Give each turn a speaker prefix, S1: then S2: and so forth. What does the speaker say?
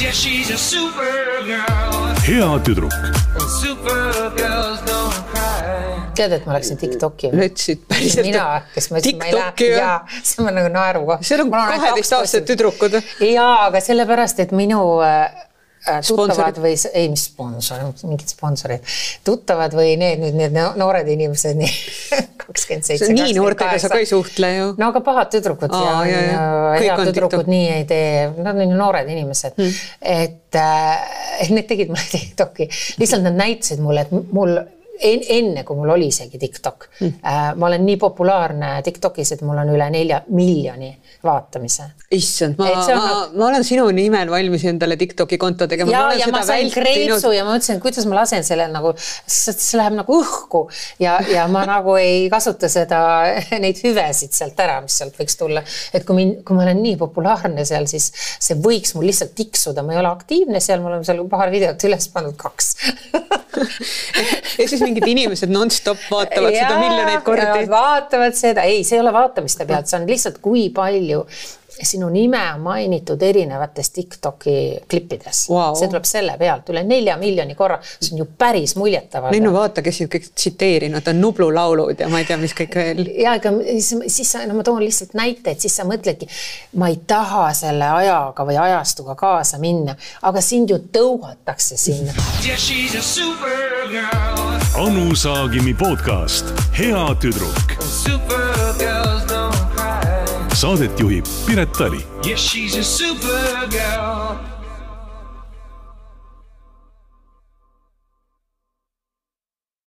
S1: Yeah, she's a supergirl.
S2: hea tüdruk
S1: And supergirls don't cry.
S3: tead , et ma läksin Tiktoki ?
S4: Läksid päriselt
S3: mina , kes ma ütlesin , ma ei
S4: TikToki,
S3: lähe
S4: jah?
S3: ja see on nagu naerukoht .
S4: Seal on 12-aastased tüdrukud. .
S3: jaa , aga sellepärast , et minu äh, äh, tuttavad
S4: Sponsorid.
S3: või s- ei , mis sponsor , mingid sponsorid , tuttavad või need nüüd need no- noored inimesed , nii kakskümmend seitse .
S4: nii noortega sa ka ei suhtle ju .
S3: no aga pahad tüdrukud
S4: Aa,
S3: ja,
S4: jaa,
S3: ja,
S4: jaa.
S3: ja
S4: Kõik
S3: head
S4: on
S3: tüdrukud
S4: TikTok. Hmm.
S3: nii ei tee , nad on ju noored inimesed mm. . et äh, need tegid mulle TikToki , lihtsalt nad näitasid mulle , et mul en, enne , kui mul oli isegi TikTok
S4: Hmm.
S3: mm. , äh, ma olen nii populaarne TikTokis , et mul on üle nelja miljoni vaatamise .
S4: issand , ma
S3: Et see , on
S4: ma
S3: nagu- ,
S4: ma olen sinu nimel valmis endale Tiktoki konto tegema .
S3: ja , ja ma sain kreipsu ja ma mõtlesin , et kuidas ma lasen selle nagu , see läheb nagu õhku ja , ja ma nagu ei kasuta seda , neid hüvesid sealt ära , mis sealt võiks tulla . et kui mind , kui ma olen nii populaarne seal , siis see võiks mul lihtsalt tiksuda , ma ei ole aktiivne seal , me oleme seal paar videot üles pannud , kaks
S4: ja siis mingid inimesed nonstop vaatavad seda
S3: Jaa,
S4: miljoneid kordi
S3: nad . vaatavad seda , ei , see ei ole vaatamiste pealt , see on lihtsalt , kui palju sinu nime on mainitud erinevates Tiktoki klippides
S4: Vau.
S3: see tuleb selle pealt üle nelja miljoni korra , see on ju päris
S4: Nennu ,
S3: muljetavaldav .
S4: vaata , kes siin kõik tsiteerinud on , Nublu laulud ja ma ei tea , mis kõik veel .
S3: ja ega siis, siis sa , no ma toon lihtsalt näiteid , siis sa mõtledki , ma ei taha selle ajaga või ajastuga kaasa minna , aga sind ju tõugatakse sinna .
S1: Yeah, she's a supergirl.
S2: Anu Saagimi podcast Hea tüdruk .
S1: And supergirls don't cry.
S2: Saadet juhib Piret Tali
S1: Yeah, she's a supergirl.